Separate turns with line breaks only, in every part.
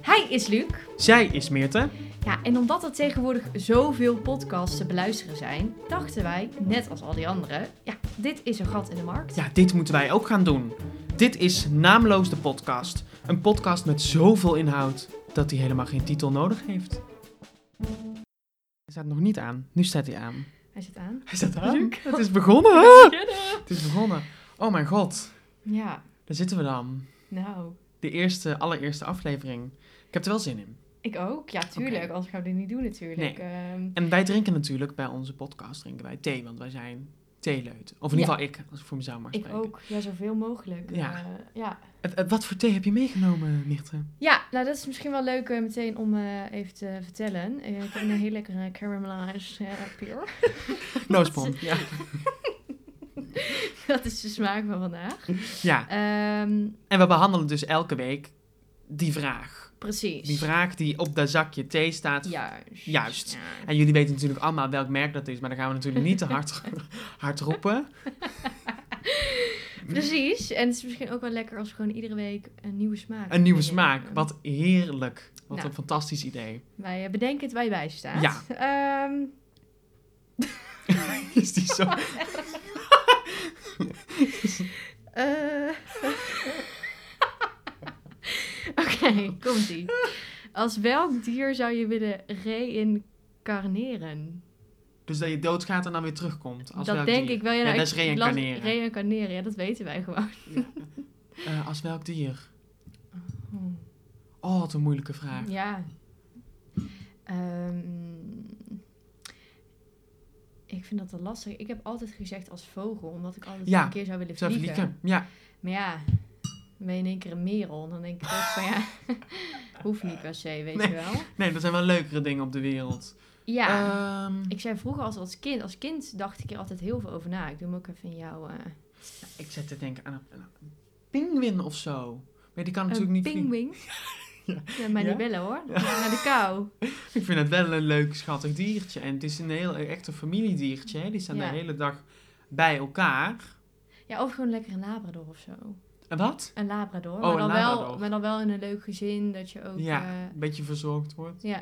Hij is Luc.
Zij is Meerte.
Ja, en omdat er tegenwoordig zoveel podcasts te beluisteren zijn, dachten wij, net als al die anderen, ja, dit is een gat in de markt.
Ja, dit moeten wij ook gaan doen. Dit is Naamloos de Podcast. Een podcast met zoveel inhoud dat hij helemaal geen titel nodig heeft. Hij staat nog niet aan. Nu staat hij aan.
Hij zit aan.
Hij staat
aan?
Het is begonnen.
Beginnen.
Het is begonnen. Oh mijn god.
Ja,
Daar zitten we dan.
nou,
De eerste, allereerste aflevering. Ik heb er wel zin in.
ik ook. Ja, tuurlijk,
Oké.
anders gaan we dit niet doen natuurlijk. Ehm,
En wij drinken natuurlijk bij onze podcast drinken wij thee, want wij zijn theeleut. Of in ieder geval ik, als ik voor mezelf mag
ik
spreken.
ook, ja, zoveel mogelijk.
Ja.
Eh, ja.
Eh, eh, Wat voor thee heb je meegenomen, Mierte?
ja, nou dat is misschien wel leuk eh, meteen om eh, even te vertellen. Eh, ik heb een heel lekkere caramelized eh pure.
Noosbon. Ja.
dat is de smaak van vandaag.
ja.
Ehm,
En we behandelen dus elke week die vraag.
precies.
Die vraag die op dat zakje thee staat.
Juist.
Juist.
Ja.
En jullie weten natuurlijk allemaal welk merk dat is, maar dan gaan we natuurlijk niet te hard, hard roepen.
Precies. En het is misschien ook wel lekker als we gewoon iedere week een nieuwe smaak.
Een nieuwe
proberen.
smaak. Wat heerlijk. Wat
Nou.
een fantastisch idee.
Wij eh, bedenken het waar je bij staat.
Ja.
Ehm,
Is die zo?
eh. Oké, komt ie. Als welk dier zou je willen reïncarneren?
Dus dat je doodgaat en dan weer terugkomt. Als
dat
welk
denk
dier?
ik wel. Ja,
Ja,
nou,
dat is
ik- ik las
reïncarneren.
Reïncarneren, ja, dat weten wij gewoon.
Eh, als welk dier? Hmm. Oh, wat een moeilijke vraag.
Ja. Ehm, ik vind dat wel lastig. Ik heb altijd gezegd als vogel, omdat ik altijd
Ja,
een keer zou willen
Zou
vliegen.
vliegen? Ja.
Maar ja, dan ben je in één keer een merel. En dan denk ik ook van ja, hoeft niet per se, weet
Nee.
je wel.
Nee, er zijn wel leukere dingen op de wereld.
Ja,
Ehm,
ik zei vroeger als, als kind, als kind dacht ik er altijd heel veel over na. Ik doe hem ook even in jou. eh,
ik zet te denken aan een, aan een pinguïn of zo. Maar die kan natuurlijk
een
niet vliegen.
pingwing.
Ja.
Ja. maar
Ja?
niet bellen hoor. Dan ga ik Naar de kou.
Ik vind het wel een leuk, schattig diertje. En het is een heel echt een familiediertje. Hè? Die staan
Ja.
de hele dag bij elkaar.
Ja, of gewoon lekker een labrador of zo.
En wat?
Een labrador.
Oh,
maar,
een
dan Wel,
labrador.
maar dan wel in een leuk gezin, dat je ook...
ja,
eh,
een beetje verzorgd wordt.
Ja.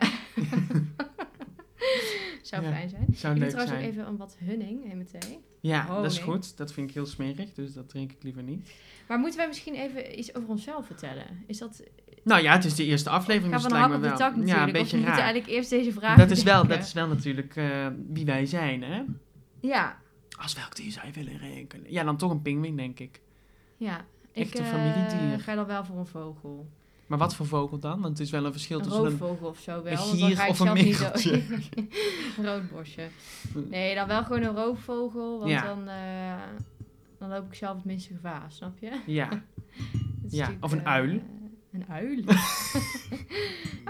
Zou
Ja,
fijn zijn.
Zou
Ik doe
leuk
trouwens
zijn.
ook even een wat hunning in mijn thee.
Ja,
Oh,
dat is
nee.
goed. Dat vind ik heel smerig, dus dat drink ik liever niet.
Maar moeten wij misschien even iets over onszelf vertellen? Is dat...
Nou ja, het is de eerste aflevering,
Ga
dus
van
het
de
lijkt
hak op
me
de tak natuurlijk.
wel. ja, een
of we
beetje
moeten
raar.
eigenlijk eerst deze vraag
Dat is, wel, dat
bedenken.
is wel natuurlijk eh, wie wij zijn, hè?
Ja,
Als welk dier zou je willen reënken? Ja, dan toch een pinguïn, denk ik.
ja.
Echt een
eh,
familiedier.
ga dan wel voor een vogel.
Maar wat voor vogel dan? Want het is wel een verschil
Een
tussen dus een...
roofvogel of zo wel.
een
want dan
gier
ga ik
of een
zelf niet
mereltje. Hm.
dood. Roodborstje. Nee, dan wel gewoon een roofvogel. Want
Ja.
dan, eh, dan loop ik zelf het minste gevaar, snap je?
Ja,
Dat is
Ja,
natuurlijk,
of een
eh,
uil.
Een uil?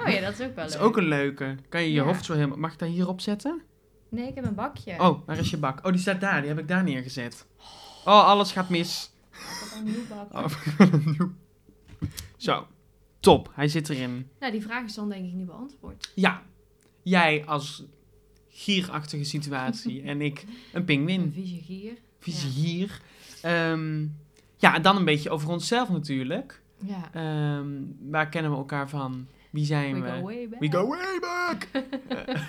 oh ja, dat is ook wel
dat is
leuk.
ook een leuke. Kan je je
Ja.
hoofd zo helemaal... Mag ik dat hierop zetten?
Nee, ik heb een bakje.
Oh, waar is je bak? Oh, die staat daar. Die heb ik daar neergezet. Oh, alles gaat mis.
Ik heb een nieuw bak.
Oh. Zo. Top. Hij zit erin.
Nou, die vraag is dan denk ik niet beantwoord.
Ja. Jij als gierachtige situatie en ik een
Een
pinguïn.
vieze gier.
Vieze gier. Ehm, ja, en dan een beetje over onszelf natuurlijk.
Ja.
Ehm, waar kennen we elkaar van? Wie zijn
We
we?
go way back.
We go way back! Eh,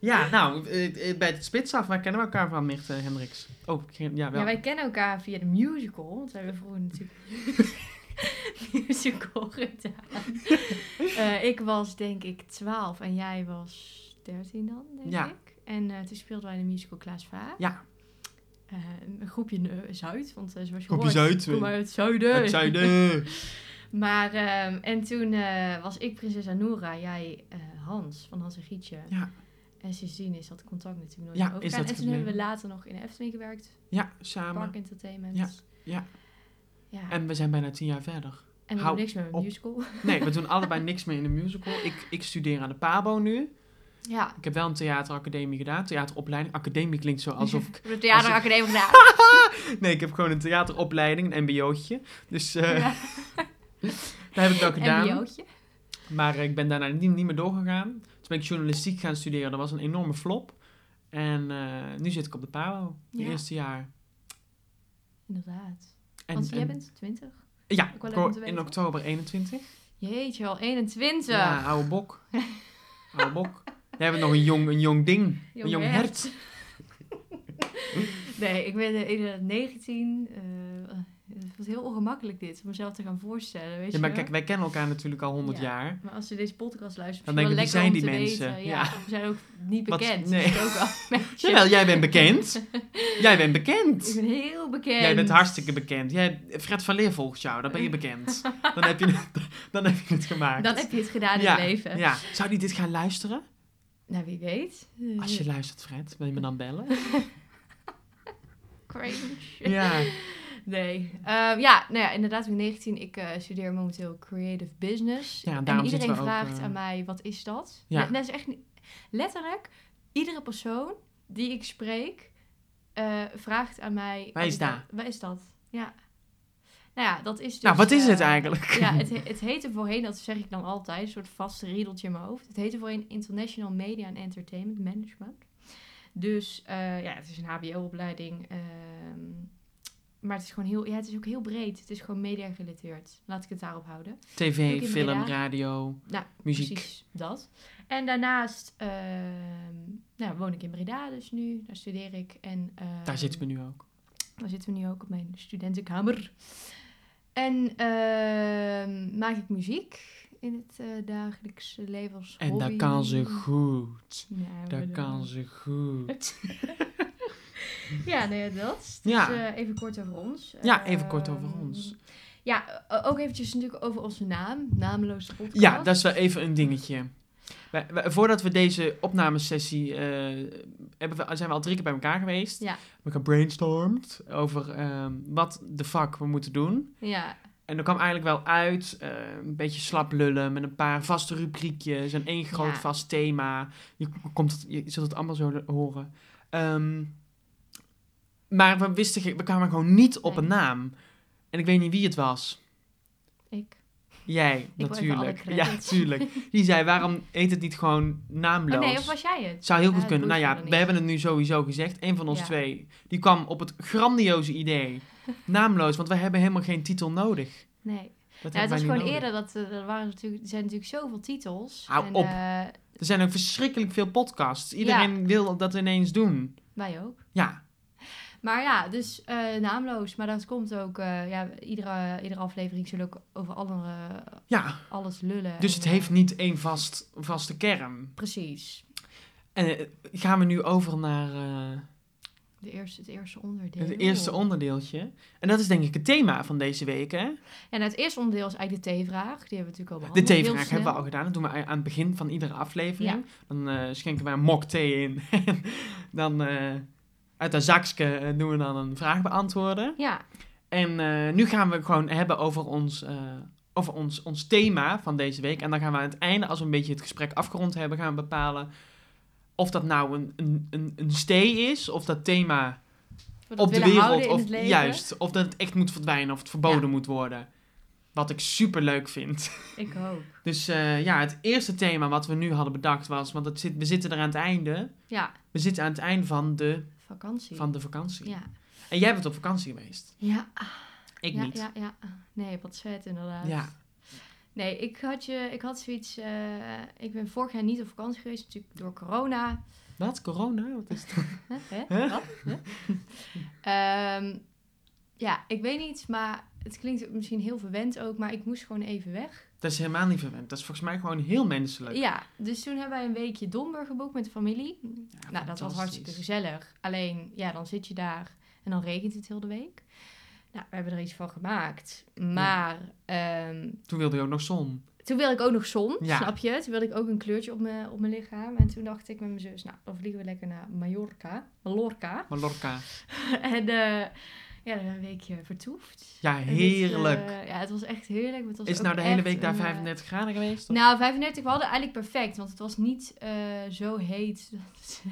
ja, nou, eh, eh, bij het spitsaf, waar kennen we elkaar van, Mirte Hendricks? Oh, ik- ja, wel.
Ja, wij kennen elkaar via de musical. Want we hebben vroeger natuurlijk musical gedaan. Eh, ik was denk ik 12 en jij was 13 dan, denk
Ja.
ik. En eh, toen speelden wij de musical Klaas Vaak.
Ja.
Eh, een groepje eh, Zuid, want eh, zoals je
Groepje
hoort,
Zuid,
kom
we-
uit het zuiden.
Het zuiden!
Maar, ehm, en toen eh, was ik prinses Anoura, jij eh, Hans, van Hans en Gietje.
Ja.
En sindsdien is dat contact natuurlijk nooit
Ja,
meer overgegaan.
is dat
En toen
gebleven.
hebben we later nog in de Efteling gewerkt,
Ja, samen.
Park Entertainment.
Ja, ja.
Ja, En,
En we zijn bijna tien jaar verder.
we
hou
hebben niks meer met
op.
musical.
Nee, we doen allebei niks meer in de musical. Ik, ik studeer aan de PABO nu.
ja.
Ik heb wel een theateracademie gedaan. Theateropleiding. Academie klinkt zo alsof ik...
We hebben theateracademie gedaan.
Nee, ik heb gewoon een theateropleiding, een mbo'tje. Dus eh,
Ja.
dat heb ik wel
En
gedaan.
biootje.
Maar eh, ik ben daarna niet, niet meer doorgegaan. Toen ben ik journalistiek gaan studeren. Dat was een enorme flop. En eh, nu zit ik op de PABO. Het
Ja.
eerste jaar.
Inderdaad.
En,
Want jij
en-
bent 20.
Ja,
ook wel leuk om te
in
weten.
oktober 21.
Jeetje, al 21.
Ja, oude bok. oude bok. Jij bent nog een jong, een jong ding. een jong hert.
nee, ik ben eh, inderdaad 19. eh, het was heel ongemakkelijk dit, om mezelf te gaan voorstellen, weet
Ja,
je
maar
wel?
kijk, wij kennen elkaar natuurlijk al 100
Ja.
jaar.
Maar als je deze podcast luistert,
Dan
dan denk
denk
wel
ik,
lekker
wie
om te
zijn
weten.
die mensen?
Ja,
Ja.
We zijn ook niet
Wat-
bekend.
nee.
Dat is ook wel een beetje-
Jawel, jij bent bekend. jij bent bekend.
Ik ben heel bekend.
Jij bent hartstikke bekend. Jij, Fred van Leer volgt jou, dan ben je bekend. Dan heb je het, dan heb je het gemaakt.
Dan heb je het gedaan in
ja,
het leven.
Ja. Zou die dit gaan luisteren?
Nou, wie weet.
Als je luistert, Fred, wil je me dan bellen?
Cringe.
Ja. Nou,
Nee. Ehm, ja, nou ja, inderdaad, ik ben 19. Ik eh, studeer momenteel Creative Business.
Ja, en
en
daarom
iedereen
zitten we ook,
vraagt
eh,
aan mij, wat is dat?
Ja.
Nee, dat is echt niet... Letterlijk, iedere persoon die ik spreek, eh, vraagt aan mij...
Waar
wat
is dat?
Waar is dat? Ja. Nou ja, dat is dus...
nou, wat is het
eh,
eigenlijk?
Ja, het, he- het heette voorheen, dat zeg ik dan altijd, een soort vaste riedeltje in mijn hoofd. Het heette voorheen International Media and Entertainment Management. Dus eh, ja, het is een HBO-opleiding. ehm, maar het is gewoon heel, ja, het is ook heel breed. Het is gewoon media gerelateerd. Laat ik het daarop houden.
TV,
Ook in
film,
Breda.
radio,
Nou,
muziek.
Precies dat. En daarnaast ehm, nou, woon ik in Breda dus nu. Daar studeer ik. En, ehm,
Daar zitten we nu ook.
daar zitten we nu ook op mijn studentenkamer. En ehm, maak ik muziek in het eh, dagelijkse leven als
En
hobby.
dat kan ze goed.
Ja,
Dat
bedoel-
kan ze goed.
Ja, nee, dat. is- Dus
Ja.
eh, even kort over ons.
Ja, even kort over
Ehm,
ons.
Ja, o- ook eventjes natuurlijk over onze naam. Nameloze podcast.
Ja, dat is wel even een dingetje. Wij- wij- voordat we deze opnamesessie eh, hebben, we, zijn we al drie keer bij elkaar geweest.
Ja.
We hebben brainstormd over ehm, wat de fuck we moeten doen.
Ja,
En er kwam eigenlijk wel uit, eh, een beetje slap lullen met een paar vaste rubriekjes en één groot
Ja.
vast thema. Je, komt het, je zult het allemaal zo horen. Ehm, maar we wisten, ge- we kwamen gewoon niet op
Nee.
een naam. En ik weet niet wie het was.
ik.
Jij,
wil even
natuurlijk.
alle
Ja,
credits.
natuurlijk. Die zei, waarom heet het niet gewoon naamloos?
Oh nee, of was jij het?
Zou heel
Ja,
goed
dat
kunnen. Nou
boeit me
ja,
dan
we
niet.
hebben het nu sowieso gezegd. Een van ons
Ja.
twee, die kwam op het grandioze idee. Naamloos, want we hebben helemaal geen titel nodig.
Nee.
Dat
Ja, het
hebben
was
wij
gewoon
niet nodig.
eerder dat eh, er, waren natuurlijk, er zijn natuurlijk zoveel titels.
Hou
en,
op.
eh,
Er zijn ook verschrikkelijk veel podcasts. Iedereen wil dat ineens doen.
wij ook.
Ja,
Maar ja, dus eh, naamloos. Maar dat komt ook, eh, ja, iedere, iedere aflevering zullen ook over alle,
ja.
alles lullen.
dus
En,
het
eh,
heeft niet één vast, vaste kern.
Precies.
En eh, gaan we nu over naar eh,
De eerste, het eerste onderdeel.
het eerste onderdeeltje. En dat is denk ik het thema van deze week, hè?
En het eerste onderdeel is eigenlijk de T-vraag. Die hebben we natuurlijk al
De
behandeld. heel
thee-vraag
snel.
hebben we al gedaan. Dat doen we aan het begin van iedere aflevering.
Ja.
Dan eh, schenken we een mok thee in. dan eh, uit een zakje eh, doen we dan een vraag beantwoorden.
Ja,
En eh, nu gaan we gewoon hebben over, ons, eh, over ons, ons thema van deze week. En dan gaan we aan het einde, als we een beetje het gesprek afgerond hebben, gaan we bepalen of dat nou een, een, een, een stee is, of dat thema
wat we
op de
willen
wereld,
houden in
of
het leven.
juist, of dat het echt moet verdwijnen, of het verboden
Ja.
moet worden. Wat ik super leuk vind.
Ik hoop.
Dus eh, ja, het eerste thema wat we nu hadden bedacht was, want het zit, we zitten er aan het einde.
Ja,
We zitten aan het einde van de,
vakantie.
van de vakantie.
Ja.
En jij bent op vakantie geweest.
Ja,
Ik
ja,
niet.
ja, ja. Nee, wat vet inderdaad.
Ja.
Nee, ik had, je, ik had zoiets... eh, ik ben vorig jaar niet op vakantie geweest, natuurlijk door corona.
Wat? Corona? Wat is het?
Hè? Hè?
Hè?
Wat? Hè? Ehm, ja, ik weet niet, maar het klinkt misschien heel verwend ook, maar ik moest gewoon even weg.
Dat is helemaal niet verwend. Dat is volgens mij gewoon heel menselijk.
Ja, dus toen hebben wij een weekje Domburg geboekt met de familie. nou, dat was
fantastisch.
hartstikke gezellig. Alleen, ja, dan zit je daar en dan regent het heel de week. Nou, we hebben er iets van gemaakt. Maar ehm,
Toen wilde je ook nog zon.
toen wilde ik ook nog zon,
Ja.
snap je? Toen wilde ik ook een kleurtje op mijn, op mijn lichaam. En toen dacht ik met mijn zus, nou, dan vliegen we lekker naar Mallorca. Mallorca.
Mallorca.
En eh ja, dan een weekje eh, vertoefd.
Ja,
En dit,
heerlijk.
eh, ja, het was echt heerlijk. maar Het was
is
ook
nou de hele
echt
week daar
een, eh,
35 graden geweest? of?
Nou, 35, we hadden eigenlijk perfect, want het was niet eh, zo heet. dat-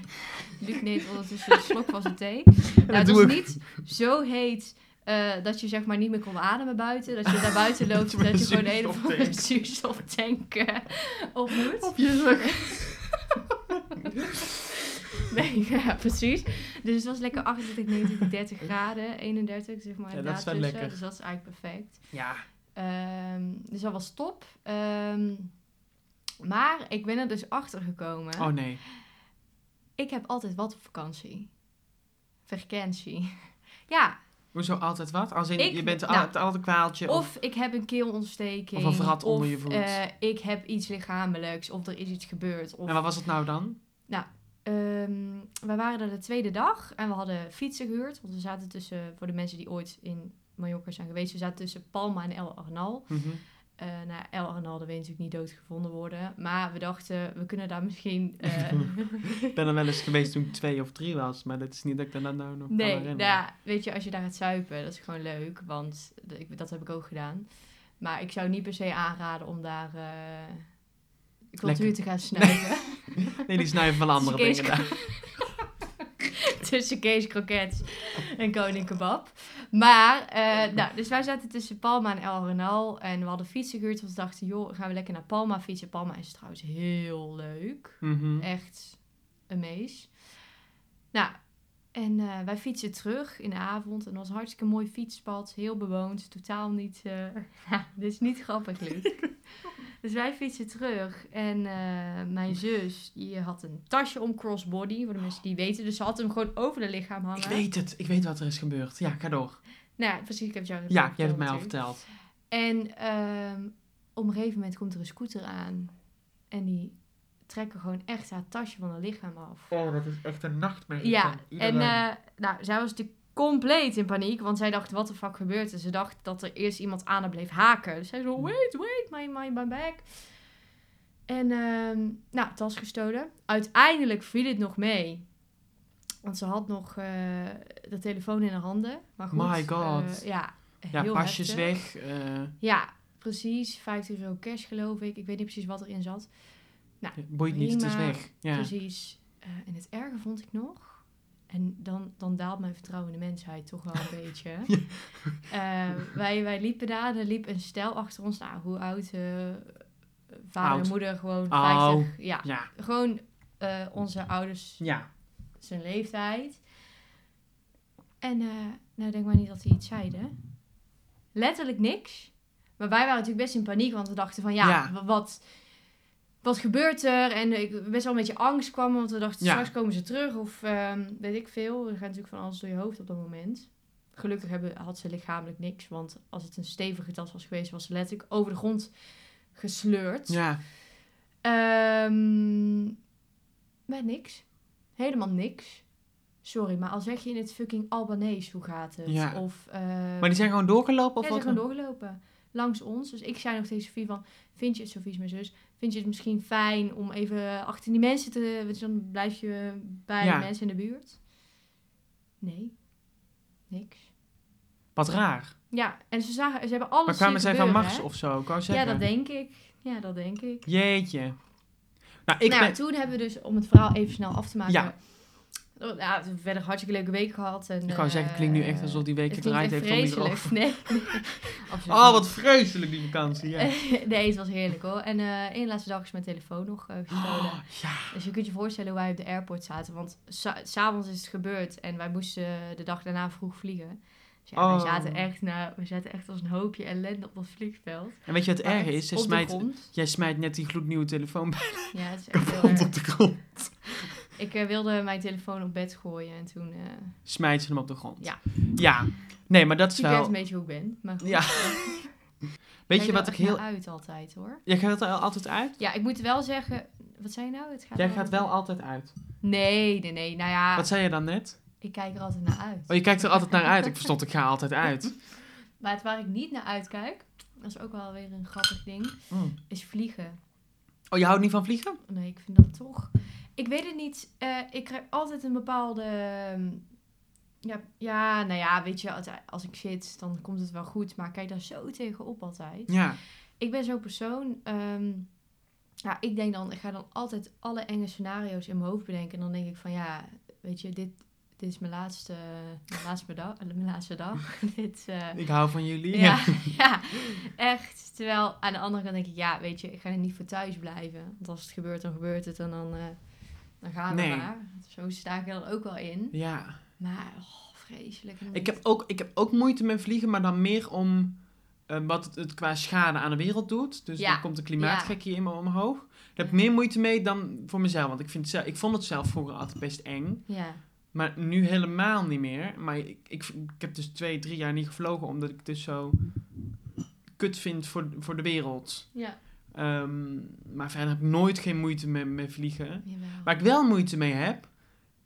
Luc neemt ondertussen een slok van zijn thee. Nou, het
doe
was
ik.
niet zo heet eh, dat je zeg maar niet meer kon ademen buiten. Dat je daar buiten loopt en
met
dat je gewoon
een
een hele
zuurstoftank.
volle zuurstoftank eh, op moet.
Op je rug.
Nee, ja, precies. Dus het was lekker 28, 29, 30 graden, 31 zeg maar.
Ja, dat
daar
is wel
tussen.
lekker.
Dus dat is eigenlijk perfect.
Ja.
Ehm, dus dat was top. Ehm, maar ik ben er dus achter gekomen.
Oh nee.
Ik heb altijd wat op vakantie. Verkentie. Ja,
Hoezo altijd wat? Als in,
Ik-
je bent al-
nou,
het altijd kwaaltje. Of,
of ik heb een keelontsteking.
Of een vrat onder
of,
je voet.
eh, ik heb iets lichamelijks. Of er is iets gebeurd. Of
en wat was het nou dan?
Ehm, we waren er de tweede dag en we hadden fietsen gehuurd. Want we zaten tussen, voor de mensen die ooit in Mallorca zijn geweest, we zaten tussen Palma en El Arnal.
Mhm.
Eh nou, El Arnal, daar wil je natuurlijk niet doodgevonden worden. Maar we dachten, we kunnen daar misschien... eh,
Ik ben er wel eens geweest toen ik twee of drie was, maar dat is niet dat ik daar nou nog kan
nee, nou,
herinneren.
ja, weet je, als je daar gaat zuipen, dat is gewoon leuk. Want d- ik, dat heb ik ook gedaan. Maar ik zou niet per se aanraden om daar... eh cultuur te gaan snuiven.
Nee, die snuiven van andere
Kees
dingen daar.
tussen Kees Croquettes en Koning Kebab. Maar, eh, nou, dus wij zaten tussen Palma en El Renal. En we hadden fietsen gehuurd. Want we dachten, joh, gaan we lekker naar Palma fietsen. Palma is trouwens heel leuk.
Mhm.
Echt een mees. Nou, en eh, wij fietsen terug in de avond. En dat was een hartstikke mooi fietspad. Heel bewoond. Totaal niet... eh, dit is niet grappig, Luc. Dus wij fietsen terug en eh, mijn zus die had een tasje om crossbody, voor de mensen die weten. Dus ze had hem gewoon over de lichaam hangen.
Ik weet het. Ik weet wat er is gebeurd. Ja, ga door.
Nou ja, precies, ik heb het jou
Ja, jij hebt het mij al
natuurlijk.
verteld.
En ehm, op een gegeven moment komt er een scooter aan. En die trekken gewoon echt haar tasje van haar lichaam af.
Oh, dat is echt een nachtmerrie.
Ja, en eh, nou, zij was natuurlijk compleet in paniek. Want zij dacht, wat de fuck gebeurt er? Ze dacht dat er eerst iemand aan haar bleef haken. Dus zij
Hmm.
zo, wait, wait, my, my, my back. En, ehm, nou, tas gestolen. Uiteindelijk viel het nog mee. Want ze had nog eh, de telefoon in haar handen. Maar goed,
My God.
eh, ja,
ja,
heel
pasjes
heftig.
weg. eh,
Ja, precies. 50 euro cash geloof ik. Ik weet niet precies wat erin zat.
boeit niet, het is
Prima.
weg. Ja.
Precies. Eh, en het erge vond ik nog. En dan, dan daalt mijn vertrouwen in de mensheid toch wel een beetje. Eh, wij, wij liepen daar, er liep een stijl achter ons. Nou, hoe oud? eh, vader
Oud.
en moeder, gewoon
Au.
50. Ja,
Ja.
gewoon eh, onze ouders
Ja.
zijn leeftijd. En eh, nou, denk maar niet dat hij iets zeiden. Letterlijk niks. Maar wij waren natuurlijk best in paniek, want we dachten van ja,
Ja.
wa- wat, wat gebeurt er? En ik best wel een beetje angst kwam, want we dachten
Ja.
straks komen ze terug of ehm, weet ik veel. Er gaat natuurlijk van alles door je hoofd op dat moment. Gelukkig hebben, had ze lichamelijk niks, want als het een stevige tas was geweest, was ze letterlijk over de grond gesleurd.
Ja.
Ehm maar niks. Helemaal niks. Sorry, maar al zeg je in het fucking Albanees hoe gaat het?
Ja.
Of, eh,
Maar die zijn gewoon doorgelopen of
ja, ze
wat?
zijn gewoon doorgelopen. Langs ons. Dus ik zei nog tegen Sofie van... Vind je het, Sofie is mijn zus... Vind je het misschien fijn om even achter die mensen te... Want dan blijf je bij
Ja.
de mensen in de buurt. Nee. Niks.
Wat raar.
Ja, en ze, zagen, ze hebben alles
Maar kwamen
zien
zij van
gebeuren,
Mars
hè?
of zo? Ik wou
Ja,
zeggen.
dat denk ik. Ja, dat denk ik.
Jeetje. Nou, ik
nou, ja,
ben...
toen hebben we dus, om het verhaal even snel af te maken.
Ja.
Oh, Ja, we hebben verder een hartstikke leuke week gehad. En,
Ik wou zeggen, het klinkt nu echt alsof die week
eh, het klinkt
gedraaid
echt
heeft om die
vreselijk.
droog.
Nee, absoluut
Oh,
niet.
wat vreselijk die vakantie. Ja.
nee, het was heerlijk hoor. En eh één laatste dag is mijn telefoon nog eh, gestolen.
Oh, ja.
Dus je kunt je voorstellen hoe wij op de airport zaten. Want sa- s'avonds is het gebeurd en wij moesten de dag daarna vroeg vliegen. Dus ja,
Oh.
wij, zaten echt, nou, wij zaten echt als een hoopje ellende op dat vliegveld.
En weet je wat het
Maar
erge
Oh, echt
is? Jij
op de
smijt,
grond.
jij smijt net die gloednieuwe telefoon bij
Ja, het is echt heel
kapot
erg.
op de grond.
Ik eh, wilde mijn telefoon op bed gooien en toen... eh
Smijt ze hem op de grond.
Ja.
Ja. Nee, maar dat is
ik weet
wel...
een beetje hoe ik ben. Maar goed.
Ja. Weet je
Jij
wat ik
wil echt
heel...
naar uit altijd hoor.
Jij gaat er altijd uit?
Ja, ik moet wel zeggen... Wat zei je nou? Het gaat
Jij
wel-
gaat wel altijd uit.
Nee, nee, nee. Nou ja,
Wat zei je dan net?
ik kijk er altijd naar uit.
Oh, je kijkt er altijd naar uit. Ik verstond, ik ga altijd uit.
Maar het waar ik niet naar uitkijk... Dat is ook wel weer een grappig ding.
Mm.
Is vliegen.
Oh, je houdt niet van vliegen?
Nee, ik vind dat toch... Ik weet het niet. eh, ik krijg altijd een bepaalde... ehm, Ja, ja, nou ja, weet je, als- als ik zit, dan komt het wel goed. Maar ik kijk daar zo tegenop altijd.
Ja.
Ik ben zo'n persoon. ehm, ja, ik denk dan, ik ga dan altijd alle enge scenario's in mijn hoofd bedenken. En dan denk ik van ja, weet je, dit, dit is mijn laatste, mijn laatste, dag, eh, mijn laatste dag. dit, eh,
Ik hou van jullie.
ja, ja, echt. Terwijl aan de andere kant denk ik, ja, weet je, ik ga er niet voor thuis blijven. Want als het gebeurt, dan gebeurt het en dan, eh, dan gaan we
Nee.
maar. Zo sta ik er dan ook wel in.
Ja.
Maar, oh, vreselijk. En dan
Ik
denk
heb, ook, ik heb ook moeite met vliegen, maar dan meer om eh, wat het, het qua schade aan de wereld doet. Dus
Ja.
dan komt de klimaatgekkie in me omhoog. Daar heb ik meer moeite mee dan voor mezelf. Want ik, vind, zelf- ik vond het zelf vroeger altijd best eng.
Ja.
Maar nu helemaal niet meer. Maar ik, ik, ik heb dus twee, drie jaar niet gevlogen. Omdat ik het dus zo kut vind voor, voor de wereld.
Ja.
Ehm, maar verder heb ik nooit geen moeite mee, met vliegen.
Jawel.
Waar ik wel moeite mee heb,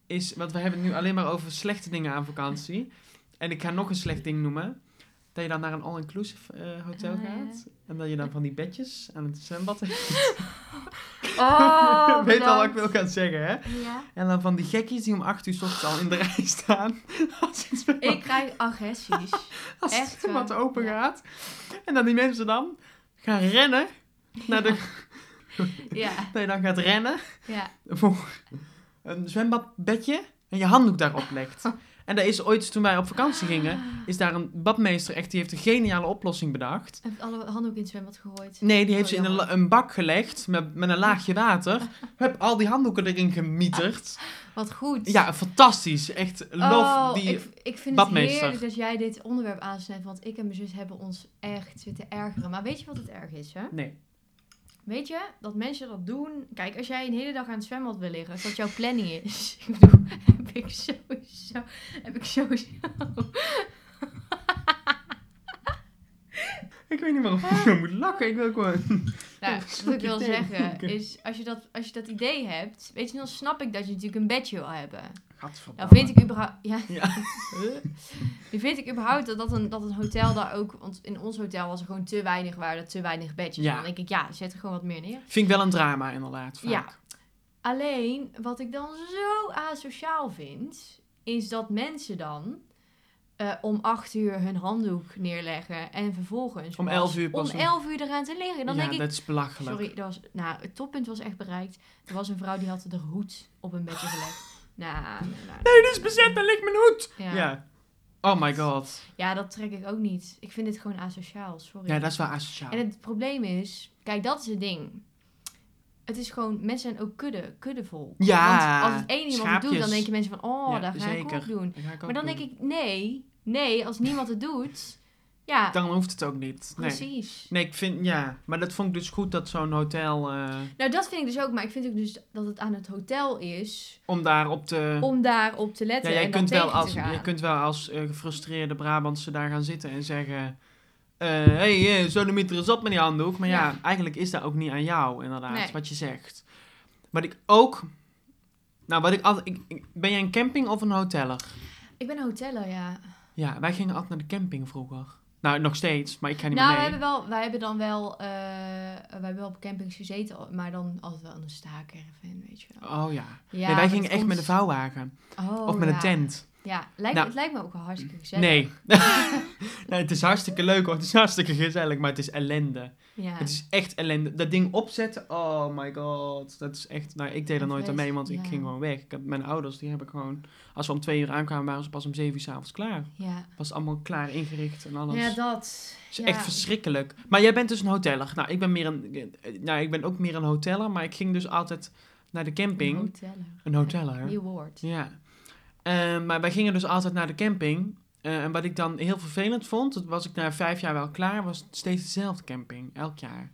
is, want we hebben het nu alleen maar over slechte dingen aan vakantie. En ik ga nog een slecht ding noemen. Dat je dan naar een all-inclusive eh, hotel
Ah, ja.
gaat. En dat je dan van die bedjes aan het zwembad hebt.
Oh,
Ik weet al wat ik
bedankt.
wil gaan zeggen, hè?
Ja.
En dan van die gekkies die om 8 uur 's ochtends al in de rij staan. Als het zwembad,
Ik krijg agressies.
als het
echt
zwembad
waar.
open
Ja.
gaat. En dan die mensen dan gaan rennen. Naar de,
ja.
Dat je dan gaat rennen.
Ja.
voor een zwembadbedje en je handdoek daarop legt. En daar is ooit, toen wij op vakantie
Ah.
gingen, is daar een badmeester echt, die heeft een geniale oplossing bedacht.
Heb ik alle handdoek in het zwembad gegooid?
Nee, die heeft ze in een,
Oh,
la- een bak gelegd met, met een laagje water. Heb al die handdoeken erin gemieterd.
Wat goed.
Ja, fantastisch. Echt love.
oh,
die...
ik, ik vind
badmeester.
het heerlijk dat jij dit onderwerp aansnijdt. Want ik en mijn zus hebben ons echt zitten ergeren. Maar weet je wat het erg is, hè?
Nee.
Weet je, dat mensen dat doen... Kijk, als jij een hele dag aan het zwembad wil liggen... Als dat jouw planning is... Ik bedoel, heb ik sowieso... Heb ik sowieso...
Ik weet niet meer of ik zo moet lachen. Ik wil gewoon...
Nou,
Oh,
wat ik
slokje
wil
thee
zeggen
drinken.
is... Als je, dat, als je dat idee hebt... Weet je, dan snap ik dat je natuurlijk een bedje wil hebben.
Gadverdamme.
Nou vind ik überhaupt... Ja.
Ja.
Nu vind ik überhaupt dat, dat, een, dat een hotel daar ook... Want in ons hotel was er gewoon te weinig waarde, te weinig bedjes.
Ja.
Dan denk ik, ja, zet er gewoon wat meer neer.
Vind ik wel een drama inderdaad, vaak.
Ja. Alleen, wat ik dan zo asociaal vind... is dat mensen dan eh, om acht uur hun handdoek neerleggen... en vervolgens
Om 11 uur pas
om
nog.
elf uur eraan te liggen. Dan
ja,
denk ik,
dat is belachelijk.
Sorry, dat was, nou, het toppunt was echt bereikt. Er was een vrouw die had de hoed op een bedje gelegd. Nou, nou, nou,
Nee, dit is bezet. Daar ligt mijn hoed.
ja.
Ja.
Ja.
Oh my god.
dat trek ik ook niet. Ik vind dit gewoon asociaal, sorry.
Ja, dat is wel asociaal.
En het probleem is, kijk, dat is het ding. Het is gewoon, mensen zijn ook kudde, kuddevol.
Ja,
Want als het één iemand het doet,
schaapjes.
dan denken mensen van, oh,
Ja,
daar ga ik
zeker.
ook doen.
Dat ga ik ook
Maar dan
doen.
denk ik, nee, nee, als niemand het doet, ja,
Dan hoeft het ook niet. Nee.
precies.
nee, ik vind, ja. Maar dat vond ik dus goed dat zo'n hotel, eh,
Nou, dat vind ik dus ook, maar ik vind ook dus dat het aan het hotel is
om daar op te...
om daarop te
ja,
letten
jij
en
kunt,
dan
wel
tegen
als,
te gaan.
jij kunt wel als eh, gefrustreerde Brabantse daar gaan zitten en zeggen... Hé, hey, eh, zo de mieter is op met die handdoek. Maar ja,
Ja.
eigenlijk is dat ook niet aan jou, inderdaad,
Nee.
wat je zegt. Wat ik ook... Nou, wat ik altijd... ik- ik- ben jij een camping of een hoteller?
Ik ben een hoteller, ja.
Ja, wij gingen altijd naar de camping vroeger. Nou, nog steeds, maar ik ga niet
Nou, we
meer mee.
hebben wel, wij hebben dan wel, eh, we hebben wel op campings gezeten, maar dan altijd wel in een staakerven, weet je wel.
Oh ja.
Ja,
nee, wij
dat
gingen echt
ons-
met de vouwwagen.
Oh,
of met
ja.
een tent.
Ja, lijkt,
Nou,
het lijkt me ook wel hartstikke gezellig.
Nee. nee, het is hartstikke leuk hoor. Het is hartstikke gezellig, maar het is ellende.
Ja.
Het is echt ellende. Dat ding opzetten, oh my god. Dat is echt... Nou, ik deed er
Een
nooit aan
feest,
mee, want ik
ja.
ging gewoon weg. Ik heb, mijn ouders, die hebben gewoon... Als we om twee uur aankwamen, waren ze pas om zeven uur s'avonds klaar.
ja.
Was het allemaal klaar ingericht en alles.
ja, dat.
Het is
ja.
echt verschrikkelijk. Maar jij bent dus een hoteller. Nou, ik ben, meer een, eh, nou, ik ben ook meer een hoteller, maar ik ging dus altijd naar de
Een
camping.
hoteller.
Een hoteller.
Nieuw woord.
Ja. Eh, maar wij gingen dus altijd naar de camping. Eh, en wat ik dan heel vervelend vond, dat was ik na vijf jaar wel klaar, was het steeds dezelfde camping, elk jaar.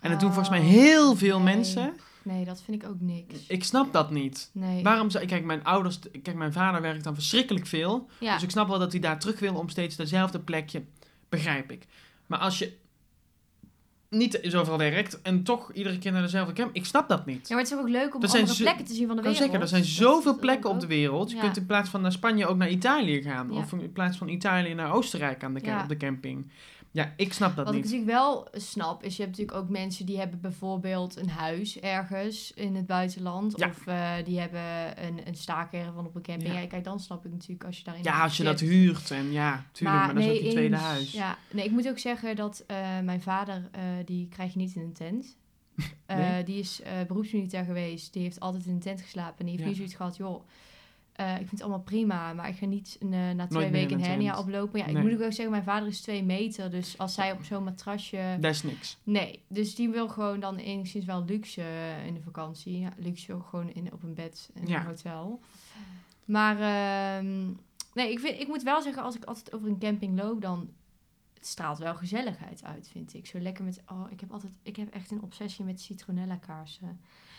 En dat doen
Oh,
volgens mij heel veel
nee.
mensen.
Nee, dat vind ik ook niks.
Ik snap dat niet.
Nee.
Waarom zou... Kijk, mijn ouders... Kijk, mijn vader werkt dan verschrikkelijk veel.
ja.
Dus ik snap wel dat hij daar terug wil om steeds dezelfde plekje. Begrijp ik. Maar als je niet zoveel werkt en toch iedere keer naar dezelfde camping... Ik snap dat niet.
ja, maar het is ook leuk om
Dat zijn
andere
zo-
plekken te zien van de
Ik kan
wereld.
zeggen, er zijn
Dat is-
zoveel
dat
plekken
ook-
op de wereld. Je
Ja.
kunt in plaats van naar Spanje ook naar Italië gaan.
Ja.
Of in plaats van Italië naar Oostenrijk aan de, cam-
Ja.
op de camping. Ja, ik snap dat
Wat ik
niet.
natuurlijk wel snap, is je hebt natuurlijk ook mensen die hebben bijvoorbeeld een huis ergens in het buitenland.
Ja.
Of eh, die hebben een, een staakerven op een camping.
Ja.
Ja. kijk, dan snap ik natuurlijk als je daarin
Ja, als je dat
zit.
huurt en ja, tuurlijk, maar, dat is ook je tweede
eens.
huis.
Ja, nee, ik moet ook zeggen dat eh, mijn vader, eh, die krijg je niet in een tent. Eh,
Nee?
Die is eh, beroepsmilitair geweest. Die heeft altijd in een tent geslapen. En die heeft
Ja.
nu zoiets gehad, joh, eh, ik vind het allemaal prima. Maar ik ga niet een, eh, na twee
meer in
weken
een
een hernia
tent.
oplopen. Ja,
Nee.
ik moet ook zeggen, mijn vader is twee meter. Dus als zij op zo'n matrasje...
Dat is niks.
Nee, dus die wil gewoon dan enigszins wel luxe eh, in de vakantie. Ja, luxe ook gewoon in, op een bed in
Ja.
een hotel. Maar ehm, nee, ik, vind, ik moet wel zeggen, als ik altijd over een camping loop, dan het straalt wel gezelligheid uit, vind ik. Zo lekker met... Oh, ik heb altijd... Ik heb echt een obsessie met citronella kaarsen.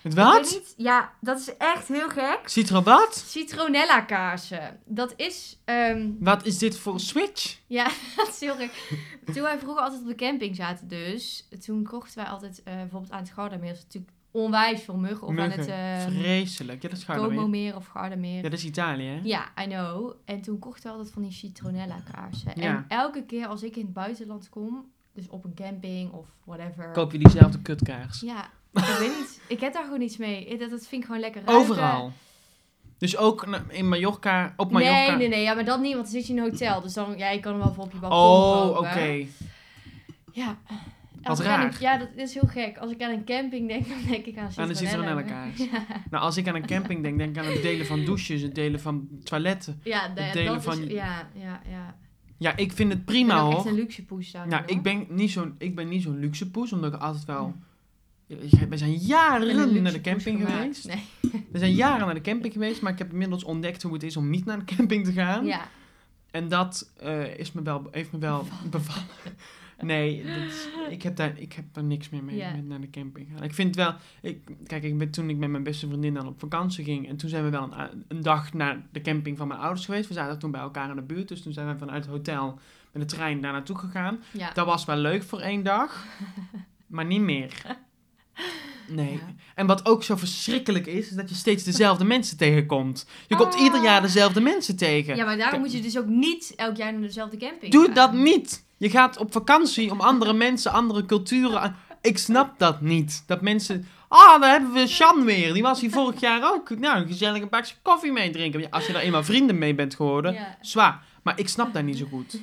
Met
Ik weet
wat?
niet- Ja, dat is echt heel gek.
Citron wat?
Citronella kaarsen. Dat is... ehm,
Wat is dit voor switch?
Ja, dat is heel gek. Toen wij vroeger altijd op de camping zaten, dus toen kochten wij altijd eh, bijvoorbeeld aan het Gardameer, is natuurlijk onwijs veel muggen, of aan
Muggen.
het eh,
Vreselijk. Ja, dat is gaar weer.
Como-meer of Gardameer.
Ja, dat is Italië, hè?
Ja, I know. En toen kochten we altijd van die citronella kaarsen.
Ja.
En elke keer als ik in het buitenland kom, dus op een camping of whatever.
Koop je diezelfde kutkaars.
Ja, ik weet niet. Ik heb daar gewoon iets mee. Ik- Dat, dat vind ik gewoon lekker ruiken.
Overal. Dus ook na- in Mallorca, op Mallorca.
Nee, nee, nee. Ja, maar dat niet, want dan zit je in een hotel. Dus dan, ja, je kan hem wel voor op je balkon
Oh, oké.
kopen. Ja.
Wat
Als ik aan een-
raar.
ja, dat is heel gek. Als ik aan een camping denk, dan denk ik aan
Aan de
citronella.
citronellenkaars. Nou, als ik aan een camping denk, denk ik aan het delen van douches, het delen van toiletten.
Ja, de-
Het delen
dat
van-
is... Ja, ja, ja.
Ja, ik vind het
Ik ben
prima
ook
hoor.
echt een luxe poes daarin,
Nou, ik
hoor.
ben niet zo'n, ik ben niet zo'n luxe poes, omdat ik altijd wel. We zijn jaren
een
naar
luxe
de
poes
camping
gemaakt.
geweest.
Nee.
We zijn jaren naar de camping geweest, maar ik heb inmiddels ontdekt hoe het is om niet naar de camping te gaan.
Ja.
En dat eh, is me wel, heeft me wel bevallen. Nee, dat- ik, heb daar, ik heb daar niks meer mee
Ja.
met naar de camping gaan. Ik vind wel, ik, kijk, ik ben, toen ik met mijn beste vriendin dan op vakantie ging, en toen zijn we wel een, a- een dag naar de camping van mijn ouders geweest. We zaten toen bij elkaar in de buurt, dus toen zijn we vanuit het hotel met de trein daar naartoe gegaan.
Ja.
Dat was wel leuk voor één dag, maar niet meer. Nee.
Ja.
En wat ook zo verschrikkelijk is, is dat je steeds dezelfde mensen tegenkomt. Je komt
Ah.
ieder jaar dezelfde mensen tegen.
ja, maar daarom moet je dus ook niet elk jaar naar dezelfde camping
Doe
gaan.
dat niet! Je gaat op vakantie om andere mensen, andere culturen. aan- Ik snap dat niet. Dat mensen. Ah, daar hebben we Sjan weer. Die was hier vorig jaar ook. Nou, gezellig een bakje koffie mee drinken. Ja, Als je daar eenmaal vrienden mee bent geworden,
Ja.
zwaar. Maar ik snap daar niet zo goed.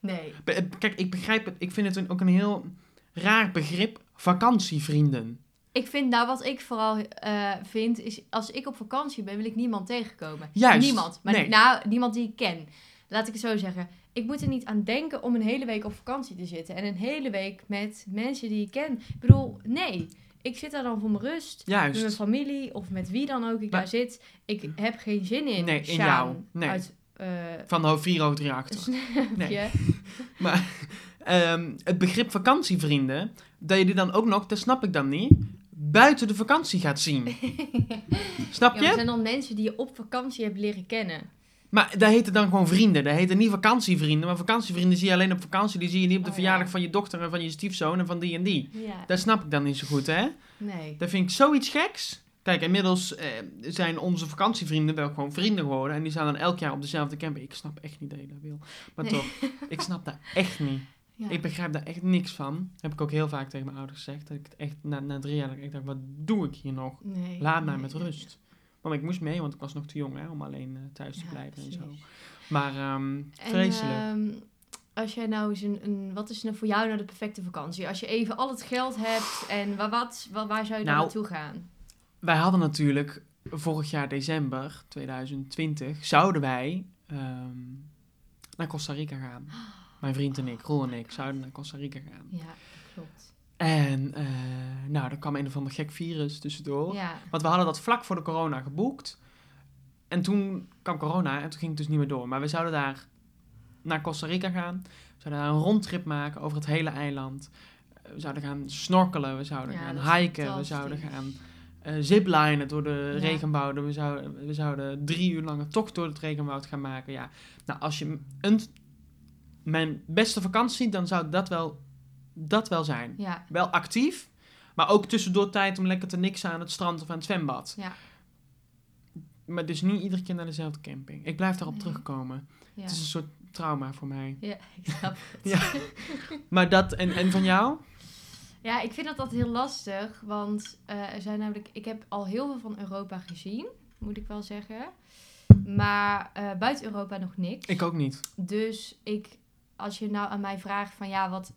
Nee.
Be- eh, Kijk, ik begrijp het. Ik vind het een- ook een heel raar begrip. Vakantievrienden.
Ik vind, nou wat ik vooral eh, vind, is als ik op vakantie ben, wil ik niemand tegenkomen.
Juist.
Niemand. Maar
Nee.
nou, niemand die ik ken. Laat ik het zo zeggen. Ik moet er niet aan denken om een hele week op vakantie te zitten. En een hele week met mensen die ik ken. Ik bedoel, nee. Ik zit daar dan voor mijn rust. Met mijn
Juist.
familie of met wie dan ook ik
Maar-
daar zit. Ik heb geen zin in.
Nee, in
Sjaan
jou. Nee.
Uit, eh
Van de 4038.
Snapje.
Maar ehm, het begrip vakantievrienden, dat je die dan ook nog, dat snap ik dan niet, buiten de vakantie gaat zien. snap
Ja, maar
je? maar,
er zijn dan mensen die je op vakantie hebt leren kennen.
dat heet het dan gewoon vrienden. Dat heet het niet vakantievrienden, maar vakantievrienden zie je alleen op vakantie. Die zie je niet op de
Oh,
verjaardag
ja.
van je dochter en van je stiefzoon en van die en die.
Ja.
Dat snap ik dan niet zo goed, hè?
Nee.
Dat vind ik zoiets geks. Kijk, inmiddels eh, zijn onze vakantievrienden wel gewoon vrienden geworden. En die staan dan elk jaar op dezelfde camping. Ik snap echt niet dat je dat wil. Maar
Nee.
toch, ik snap dat echt niet.
Ja.
Ik begrijp daar echt niks van. Heb ik ook heel vaak tegen mijn ouders gezegd. Dat ik het echt na, na drie jaar dat ik echt dacht, wat doe ik hier nog?
nee.
Laat mij
nee,
met
ja,
rust. Want ik moest mee, want ik was nog te jong hè, om alleen eh, thuis te
Ja,
blijven en
precies.
zo. Maar ehm,
En,
vreselijk.
ehm, als jij nou eens een, een- Wat is nou voor jou nou de perfecte vakantie? Als je even al het geld hebt en waar, wat, waar, waar zou je dan
Nou,
naartoe gaan?
Wij hadden natuurlijk vorig jaar december 2020, zouden wij ehm, naar Costa Rica gaan. Mijn vriend en ik,
Oh,
Roel en ik, zouden naar Costa Rica gaan.
Ja, klopt.
En eh, nou, er kwam een of ander gek virus tussendoor.
Ja.
Want we hadden dat vlak voor de corona geboekt. En toen kwam corona en toen ging het dus niet meer door. Maar we zouden daar naar Costa Rica gaan. We zouden daar een rondtrip maken over het hele eiland. Eh, We zouden gaan snorkelen, we zouden
Ja, dat is
gaan hiken, we zouden
fantastisch.
gaan eh ziplinen door de
Ja.
regenwouden. We zouden, we zouden drie uur lange tocht door het regenwoud gaan maken. Ja. Nou, als je een, mijn beste vakantie, dan zou dat wel, dat wel zijn
Ja.
wel actief, maar ook tussendoor tijd om lekker te niksen aan het strand of aan het zwembad.
Ja.
Maar dus niet iedere keer naar dezelfde camping. Ik blijf daarop
Nee.
terugkomen.
Ja.
Het is een soort trauma voor mij.
ja, ik snap
Maar dat, en, en van jou?
Ja, ik vind dat altijd heel lastig, want eh, er zijn namelijk, ik heb al heel veel van Europa gezien, moet ik wel zeggen. Maar eh, buiten Europa nog niks.
Ik ook niet.
Dus ik, als je nou aan mij vraagt van ja, wat.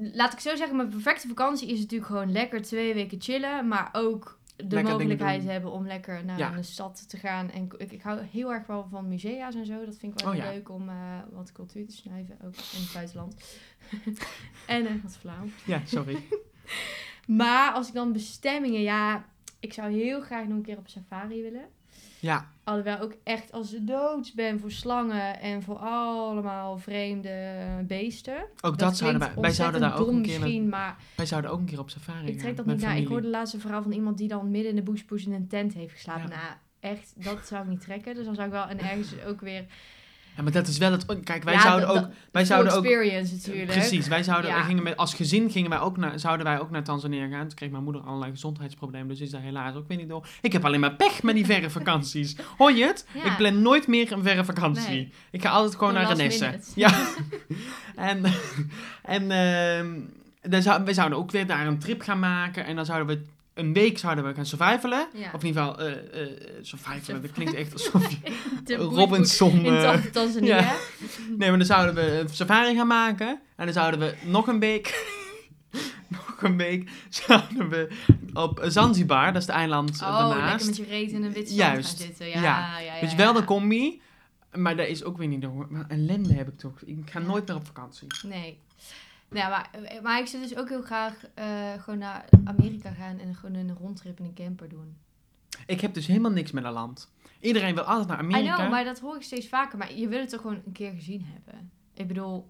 Laat ik zo zeggen, mijn perfecte vakantie is natuurlijk gewoon lekker twee weken chillen, maar ook de
Lekker dingen
mogelijkheid
doen.
hebben om lekker naar
Ja.
een stad te gaan. En ik, ik hou heel erg wel van musea's en zo. Dat vind ik wel
Oh,
heel
ja.
leuk om eh, wat cultuur te snuiven, ook in het buitenland. en eh, wat flauw.
Ja, sorry. Hm.
Maar als ik dan bestemmingen, ja, ik zou heel graag nog een keer op safari willen.
Ja.
Alhoewel ik echt als de dood ben voor slangen en voor allemaal vreemde beesten.
Ook dat, zouden wij, wij zouden daar ook een keer naar-
misschien, maar
wij zouden ook een keer op safari
ik trek
gaan
dat
met
niet naar. Ik
familie.
hoorde laatst een verhaal van iemand die dan midden in de bushpoes in een tent heeft geslapen.
Ja.
Nou, echt, dat zou ik niet trekken. Dus dan zou ik wel en ergens ook weer.
Ja, maar dat is wel het. Kijk, wij
Ja,
zouden
dat-
ook. wij zouden
full
ook
experience natuurlijk.
Precies, wij zouden,
Ja.
wij gingen met, als gezin gingen wij ook naar, zouden wij ook naar Tanzania gaan. Toen kreeg mijn moeder allerlei gezondheidsproblemen, dus is daar helaas ook weer niet door. Ik heb alleen maar pech met die verre vakanties. Hoor je het?
Ja.
Ik plan nooit meer een verre vakantie.
Nee.
Ik ga altijd gewoon
Gewoon
naar
last
Renesse.
minute.
Ja. en en ehm dan zou, wij zouden ook weer daar een trip gaan maken en dan zouden we een week zouden we gaan survivalen.
Ja.
Of in ieder geval, eh eh, survivalen, dat klinkt echt alsof je
De
Robinson...
bushpoes In
eh,
Tan- Tanzania.
ja. Nee, maar dan zouden we een safari gaan maken. En dan zouden we nog een week... nog een week zouden we op Zanzibar, dat is het eiland eh,
Oh, lekker
daarnaast.
met je reet in een wit zand
Juist.
gaan zitten. Ja,
Ja.
ja. ja,
Dus wel
ja.
de combi. Maar daar is ook weer niet door. Maar ellende heb ik toch. Ik ga nooit meer op vakantie.
Nee. Nou, ja, maar, maar ik zou dus ook heel graag eh, gewoon naar Amerika gaan en gewoon een rondtrip in een camper doen.
Ik heb dus helemaal niks met een land. Iedereen wil altijd naar
I
Amerika.
know, maar dat hoor ik steeds vaker. Maar je wil het toch gewoon een keer gezien hebben? Ik bedoel,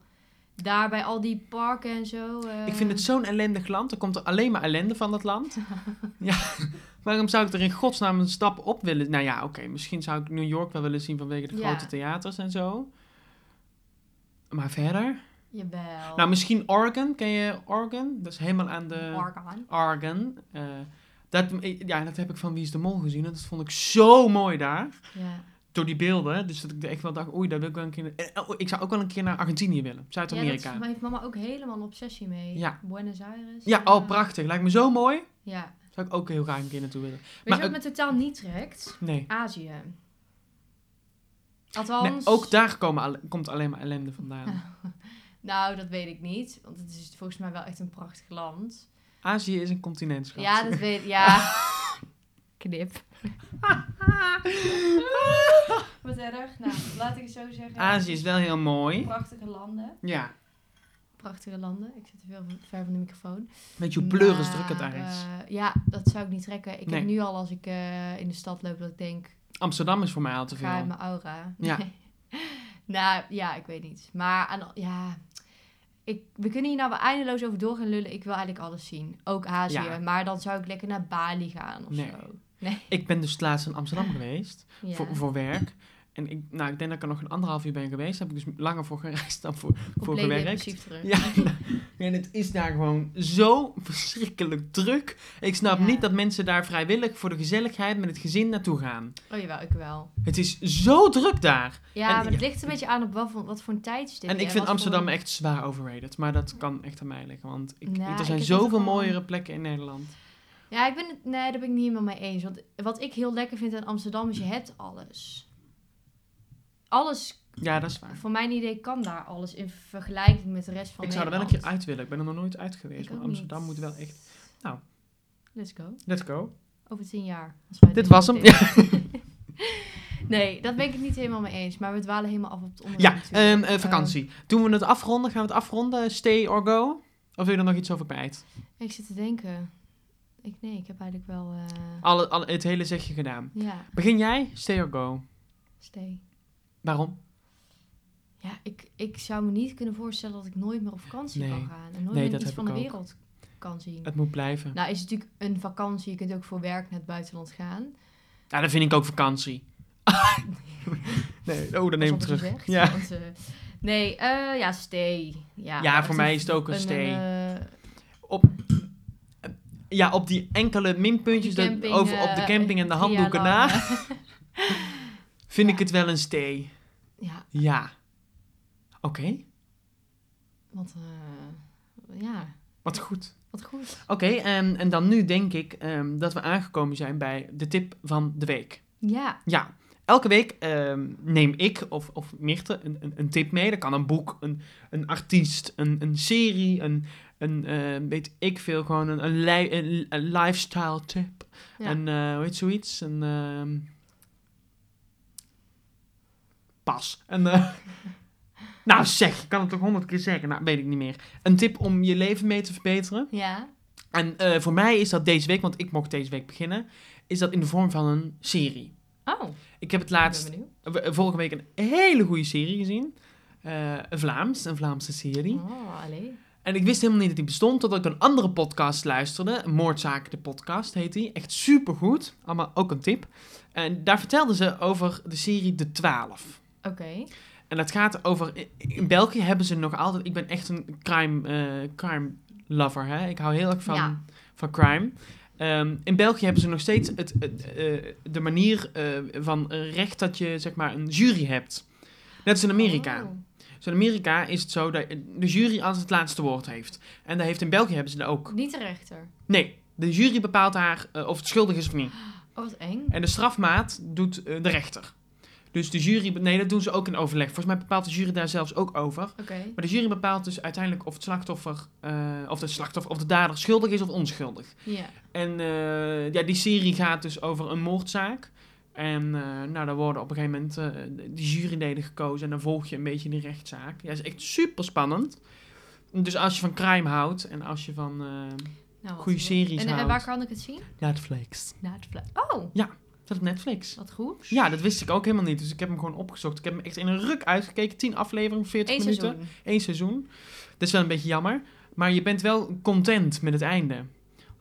daar bij al die parken en zo. eh,
Ik vind het zo'n ellendig land. Er komt er alleen maar ellende van dat land. ja. Waarom zou ik er in godsnaam een stap op willen? Nou ja, oké. misschien zou ik New York wel willen zien vanwege de
Ja.
grote theaters en zo. Maar verder?
Oh. Jawel.
Nou, misschien Oregon. Ken je Oregon? Dat is helemaal aan de...
Oregon.
Oregon. Eh, dat, ik- ja, dat heb ik van Wie is de Mol gezien. en Dat vond ik zo mooi daar.
Ja.
Door die beelden. Dus dat ik er echt wel dacht, oei, daar wil ik wel een keer... eh, oh, ik zou ook wel een keer naar Argentinië willen.
ja, dat
Zuid-Amerika.
maar heeft mama ook helemaal een obsessie mee.
Ja.
Buenos Aires.
Ja,
eh,
oh, prachtig. Lijkt me zo mooi.
Ja.
Zou ik ook heel graag een keer naartoe willen.
Weet
Maar
je wat
ook-
me totaal niet trekt?
Nee.
Azië.
Nee,
Althans...
ook daar komen alle- komt alleen maar ellende vandaan.
Nou, dat weet ik niet. Want het is volgens mij wel echt een prachtig land.
Azië is een continent, schat.
Ja, dat weet ik. Ja. Knip. Wat erg. Nou, laat ik het zo zeggen.
Azië is wel heel mooi.
Prachtige landen.
Ja.
Prachtige landen. Ik zit te veel ver van de microfoon.
Weet je hoe pleuris druk het
Maar,
daar is.
eh, ja, dat zou ik niet trekken. Ik
Nee.
heb nu al als ik eh, in de stad loop dat ik denk,
Amsterdam is voor mij al te
ga in
veel.
mijn aura.
Ja.
Nee. nou, ja, ik weet niet. Maar aan, ja, ik, we kunnen hier nou wel eindeloos over door gaan lullen. Ik wil eigenlijk alles zien. Ook Azië.
Ja.
Maar dan zou ik lekker naar Bali gaan of
Nee.
zo.
Ik ben dus laatst in Amsterdam geweest.
Ja.
voor, voor werk. En ik, nou, ik denk dat ik er nog een anderhalf uur ben geweest. Daar heb ik dus langer voor gereisd dan voor, voor
Compleet
gewerkt.
depressief terug.
Ja, nou, en het is daar gewoon zo verschrikkelijk druk. Ik snap
Ja.
niet dat mensen daar vrijwillig voor de gezelligheid met het gezin naartoe gaan.
Oh jawel, ik wel.
Het is zo druk daar.
Ja,
En-
maar het ligt een beetje aan op wat voor, wat voor een tijdstip.
en
je-
ik vind
wat
Amsterdam
voor-
echt zwaar overrated. Maar dat kan echt aan mij liggen. Want ik,
Nou,
er
ik
zijn
heb
zoveel
het gewoon-
mooiere plekken in Nederland.
Ja, ik ben het... Nee, daar ben ik niet helemaal mee eens. Want wat ik heel lekker vind aan Amsterdam is je hebt alles. Alles,
Ja, dat is waar.
voor mijn idee kan daar alles in vergelijking met de rest van
ik zou er wel een keer
Nederland.
uit willen. Ik ben er nog nooit uit geweest.
Ik
Maar
ook niet.
Amsterdam moet wel echt... Nou.
Let's go.
Let's go.
Over tien jaar. als wij
Dit
doen.
was hem.
nee, dat ben ik het niet helemaal mee eens. Maar we dwalen helemaal af op het onderwerp.
Ja,
natuurlijk.
ehm, eh, vakantie. Doen we het afronden? Gaan we het afronden? Stay or go? Of wil je er nog iets over kwijt?
Eh, ik zit te denken. Ik, nee, ik heb eigenlijk wel... eh,
Alle, alle, het hele zegje gedaan.
Ja,
Begin jij? Stay or go?
stay.
Waarom?
Ja, ik, ik zou me niet kunnen voorstellen dat ik nooit meer op vakantie
Nee.
kan gaan. En nooit
Nee,
meer
dat
iets
heb
van
ik
de
ook.
wereld kan zien.
Het moet blijven.
Nou is het natuurlijk een vakantie. Je kunt ook voor werk naar het buitenland gaan.
Nou, dat vind ik ook vakantie. nee, oh, dan neem ik
Alsof
terug.
gezegd,
Ja.
want, eh, nee, eh, ja, stay. Ja,
Ja, voor
echt
mij is het ook een stay.
eh,
ja, op die enkele minpuntjes dat-
camping,
over op de
eh,
camping en de
drie
handdoeken
jaar lang,
na,
eh,
vind
ja.
ik het wel een stay.
ja,
Ja. Oké,
want eh, ja,
wat goed.
wat goed.
Oké, ehm, en, en dan nu denk ik ehm, dat we aangekomen zijn bij de tip van de week.
Ja,
Ja, elke week ehm, neem ik of, of Mirte een, een, een tip mee. Dat kan een boek, een, een artiest, een, een serie, een, een eh, weet ik veel, gewoon een, een, li- een- een lifestyle tip.
Ja.
Een, eh, hoe heet zoiets? Een ehm, pas. Een, eh, nou zeg, ik kan het toch honderd keer zeggen? Nou, weet ik niet meer. Een tip om je leven mee te verbeteren.
ja,
En eh, voor mij is dat deze week, want ik mocht deze week beginnen, is dat in de vorm van een serie.
Oh,
Ik heb het
ik
laatst,
ben benieuwd.
eh, vorige week, een hele goede serie gezien. Eh, een Vlaams, een Vlaamse serie.
Oh, allee.
En ik wist helemaal niet dat die bestond, totdat ik een andere podcast luisterde. Moordzaken, de podcast heet die. Echt supergoed. Allemaal ook een tip. En daar vertelden ze over de serie De Twaalf.
Oké.
En dat gaat over... In België hebben ze nog altijd... Ik ben echt een crime, eh, crime lover, hè. Ik hou heel erg van,
Ja.
van crime. Ehm, in België hebben ze nog steeds het, het, eh, de manier eh, van recht dat je zeg maar een jury hebt. Net als in Amerika.
Oh.
Dus in Amerika is het zo dat de jury altijd het laatste woord heeft. En dat heeft in België hebben ze dat ook.
Oh, Niet de rechter.
Nee, de jury bepaalt haar eh, of het schuldig is of niet.
Oh, wat eng.
En de strafmaat doet eh, de rechter. Dus de jury, be- nee, dat doen ze ook in overleg. Volgens mij bepaalt de jury daar zelfs ook over.
Oké.
Maar de jury bepaalt dus uiteindelijk of het slachtoffer, eh, of de slachtoffer, of de dader schuldig is of onschuldig.
Ja.
En eh, ja, die serie gaat dus over een moordzaak. En eh nou, daar worden op een gegeven moment eh, de juryleden gekozen. En dan volg je een beetje die rechtszaak. Ja, is echt super spannend. Dus als je van crime houdt en als je van eh,
Nou, wat
goede
goed.
series
En, en
houdt.
waar kan ik het zien?
Netflix.
Na het vla- Oh,
Is dat op Netflix?
wat goed.
Ja, dat wist ik ook helemaal niet. Dus ik heb hem gewoon opgezocht. Ik heb hem echt in een ruk uitgekeken. 10 afleveringen, 40
Eén
minuten.
seizoen.
Eén seizoen. Dat is wel een beetje jammer. Maar je bent wel content met het einde.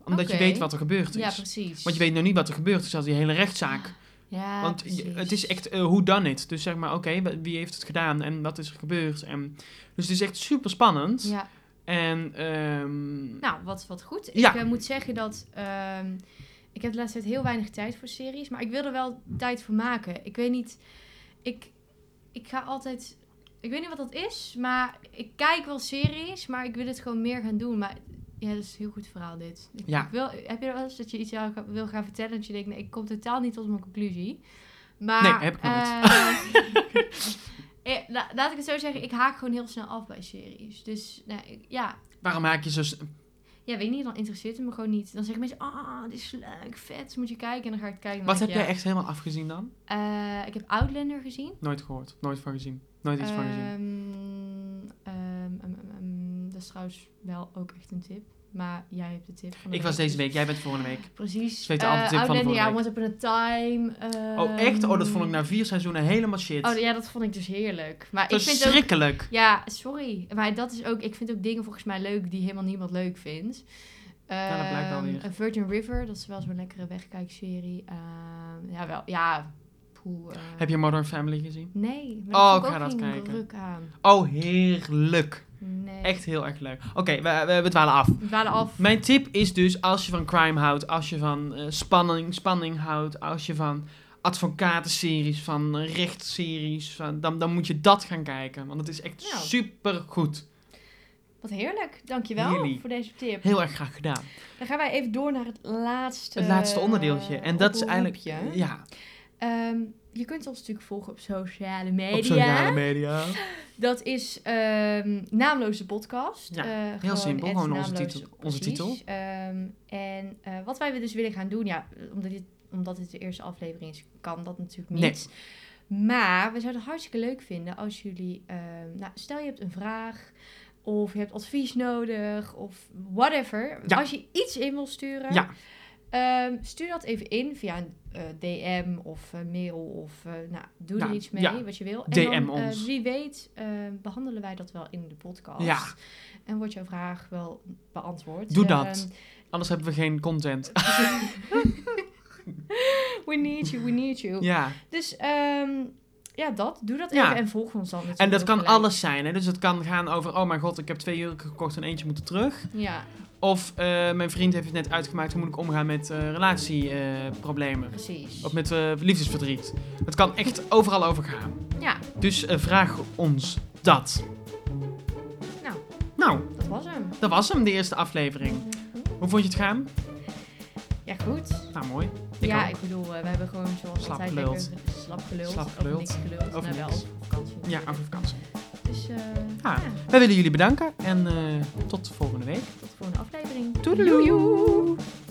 Omdat je
Oké.
weet wat er gebeurd is.
Ja, precies.
Want je weet nog niet wat er gebeurd is als die hele rechtszaak.
Ja,
Want je-
precies.
het is echt hoe dan it. Dus zeg maar, oké, wa- wie heeft het gedaan en wat is er gebeurd? En, dus het is echt super spannend.
Ja.
En ehm,
Nou, wat, wat goed.
Ja.
Ik eh, moet zeggen dat... ehm, ik heb de laatste tijd heel weinig tijd voor series. Maar ik wil er wel tijd voor maken. Ik weet niet... Ik, ik ga altijd... Ik weet niet wat dat is. Maar ik kijk wel series. Maar ik wil het gewoon meer gaan doen. Maar ja, dat is een heel goed verhaal dit. Ik,
Ja.
ik wil, heb je wel eens dat je iets jou ga- wil gaan vertellen... dat je denkt, nee, ik kom totaal niet tot mijn conclusie. Maar,
Nee, heb ik nooit.
eh, eh, la- laat ik het zo zeggen, ik haak gewoon heel snel af bij series. Dus nou, ik- ja,
waarom haak je zo... s-
ja, weet niet, dan interesseert het me gewoon niet. Dan zeggen mensen, ah, dit is leuk, vet, dus moet je kijken. En dan ga ik het kijken. en dan
Wat heb
denk
jij
ik,
echt helemaal afgezien dan?
ja. Eh, ik heb Outlander gezien.
Nooit gehoord, nooit van gezien. Nooit iets van gezien.
Ehm, ehm, ehm, ehm, ehm, dat is trouwens wel ook echt een tip. Maar jij hebt de tip. Van de
Ik was deze week, jij bent volgende week.
Precies.
Ze weten
Eh,
altijd de tip van de
Outlander, ja,
vorige
Once Upon a Time. ehm,
Oh echt? Oh, dat vond ik na vier seizoenen helemaal shit.
Oh ja, dat vond ik dus heerlijk. Maar ik vind ook...
Verschrikkelijk.
Ja, sorry. Maar dat is ook... Ik vind ook dingen volgens mij leuk die helemaal niemand leuk vindt.
Ja, dat blijkt wel
Ehm,
weer.
Virgin River, dat is wel zo'n lekkere wegkijkserie. Ehm, ja, wel. Ja, poeh. eh.
Heb je Modern Family gezien?
Nee.
Oh,
Maar
ik
ik
ga
ga
dat
ook geen
kijken.
druk aan.
Oh, heerlijk.
Nee.
Echt heel erg leuk. Oké, we, we, we dwalen af.
We dwalen af.
Mijn tip is dus, als je van crime houdt, als je van eh, spanning, spanning houdt, als je van advocatenseries, van eh, rechtsseries, van, dan, dan moet je dat gaan kijken. Want het is echt
Nou.
super goed.
Wat heerlijk. Dankjewel
Jullie.
voor deze tip.
Heel erg graag gedaan.
Dan gaan wij even door naar het laatste...
Het laatste onderdeeltje.
Eh,
En dat is eigenlijk.
oproepje.
Ja,
Ehm, je kunt ons natuurlijk volgen op sociale media.
op sociale media.
Dat is ehm, Naamloos de podcast.
Ja,
Eh,
simpel,
at
gewoon onze
Naamloos,
titel- onze
precies.
titel.
Ehm, en eh, wat wij dus willen gaan doen, ja, omdat dit, omdat dit de eerste aflevering is, kan dat natuurlijk
Nee.
niet. Maar we zouden het hartstikke leuk vinden als jullie, ehm, nou, stel je hebt een vraag of je hebt advies nodig of whatever.
Ja.
Als je iets in wil sturen,
Ja.
ehm, stuur dat even in via een eh, DM of eh, mail of eh, nou, doe
Nou,
er iets mee
ja.
wat je wil.
DM
en dan, eh,
ons.
wie weet eh, behandelen wij dat wel in de podcast.
Ja.
En wordt jouw vraag wel beantwoord.
Doe
Ehm,
dat. Anders hebben we geen content.
ehm, we need you, we need you.
ja.
Dus ehm, ja, dat. Doe dat
Ja.
even en volg ons dan natuurlijk
En dat
ook
kan
gelijk.
alles zijn. Hè? Dus het kan gaan over: oh mijn god, ik heb twee jurken gekocht en eentje moet terug.
Ja,
Of eh, mijn vriend heeft het net uitgemaakt hoe moet ik omgaan met eh, relatieproblemen.
precies.
of met eh, liefdesverdriet. Het kan echt overal over gaan.
Ja,
Dus eh, vraag ons dat.
Nou.
Nou,
dat was hem.
dat was hem, de eerste aflevering. Hoe vond je het gaan?
Ja, goed.
Nou, mooi. Ik
ja,
ook.
ik bedoel, eh, we hebben gewoon zoals
Slap
altijd
geluld.
lekker slap geluld.
Slap
over
geluld.
niks geluld.
Over
nou, wel
niks.
over vakantie.
Ja, over vakantie.
Dus eh,
Ah.
ja,
Wij willen jullie bedanken en eh, tot volgende week.
tot de volgende aflevering.
Toedeloe!
Doei.